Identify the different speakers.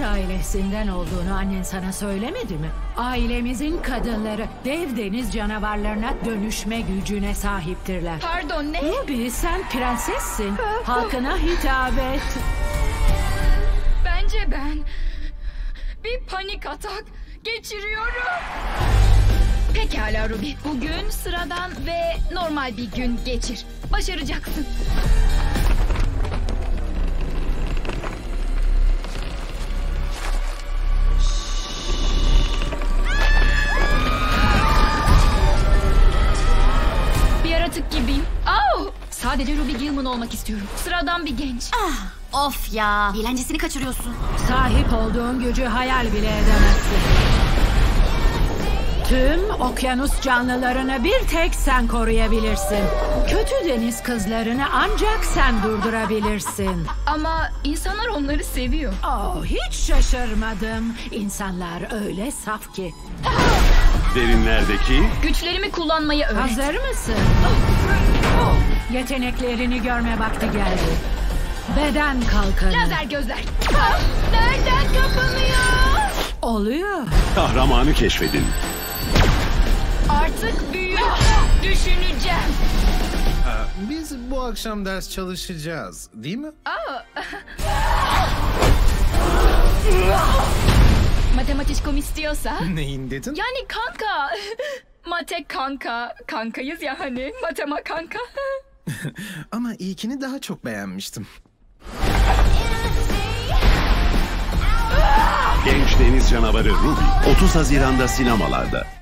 Speaker 1: ailesinden olduğunu annen sana söylemedi mi? Ailemizin kadınları dev deniz canavarlarına dönüşme gücüne sahiptirler.
Speaker 2: Pardon ne?
Speaker 1: Ruby sen prensessin. Halkına hitap et.
Speaker 2: Bence ben bir panik atak geçiriyorum. Pekala Ruby. Bugün sıradan ve normal bir gün geçir. Başaracaksın. Bir yaratık gibiyim. Au! Sadece Ruby Gilman olmak istiyorum. Sıradan bir genç.
Speaker 3: Of ya. Eğlencesini kaçırıyorsun.
Speaker 1: Sahip olduğun gücü hayal bile edemezsin. Tüm okyanus canlılarını bir tek sen koruyabilirsin. Kötü deniz kızlarını ancak sen durdurabilirsin.
Speaker 2: Ama insanlar onları seviyor.
Speaker 1: Oh, hiç şaşırmadım. İnsanlar öyle saf ki.
Speaker 4: Derinlerdeki
Speaker 2: Güçlerimi kullanmayı öğret.
Speaker 1: Hazır mısın? Yeteneklerini görme vakti geldi. Beden kalkanı.
Speaker 2: Lazer gözler. Ah, Nereden kapanıyor?
Speaker 1: Oluyor.
Speaker 4: kahramanı keşfedin.
Speaker 2: Artık büyük düşüneceğim.
Speaker 5: Biz bu akşam ders çalışacağız, değil mi?
Speaker 2: Matematikom istiyorsa.
Speaker 5: Neyin dedin?
Speaker 2: Yani kanka. Mate kanka. Kankayız ya hani. Matema kanka.
Speaker 5: Ama ilkini daha çok beğenmiştim.
Speaker 4: Genç deniz canavarı Ruby 30 Haziran'da sinemalarda.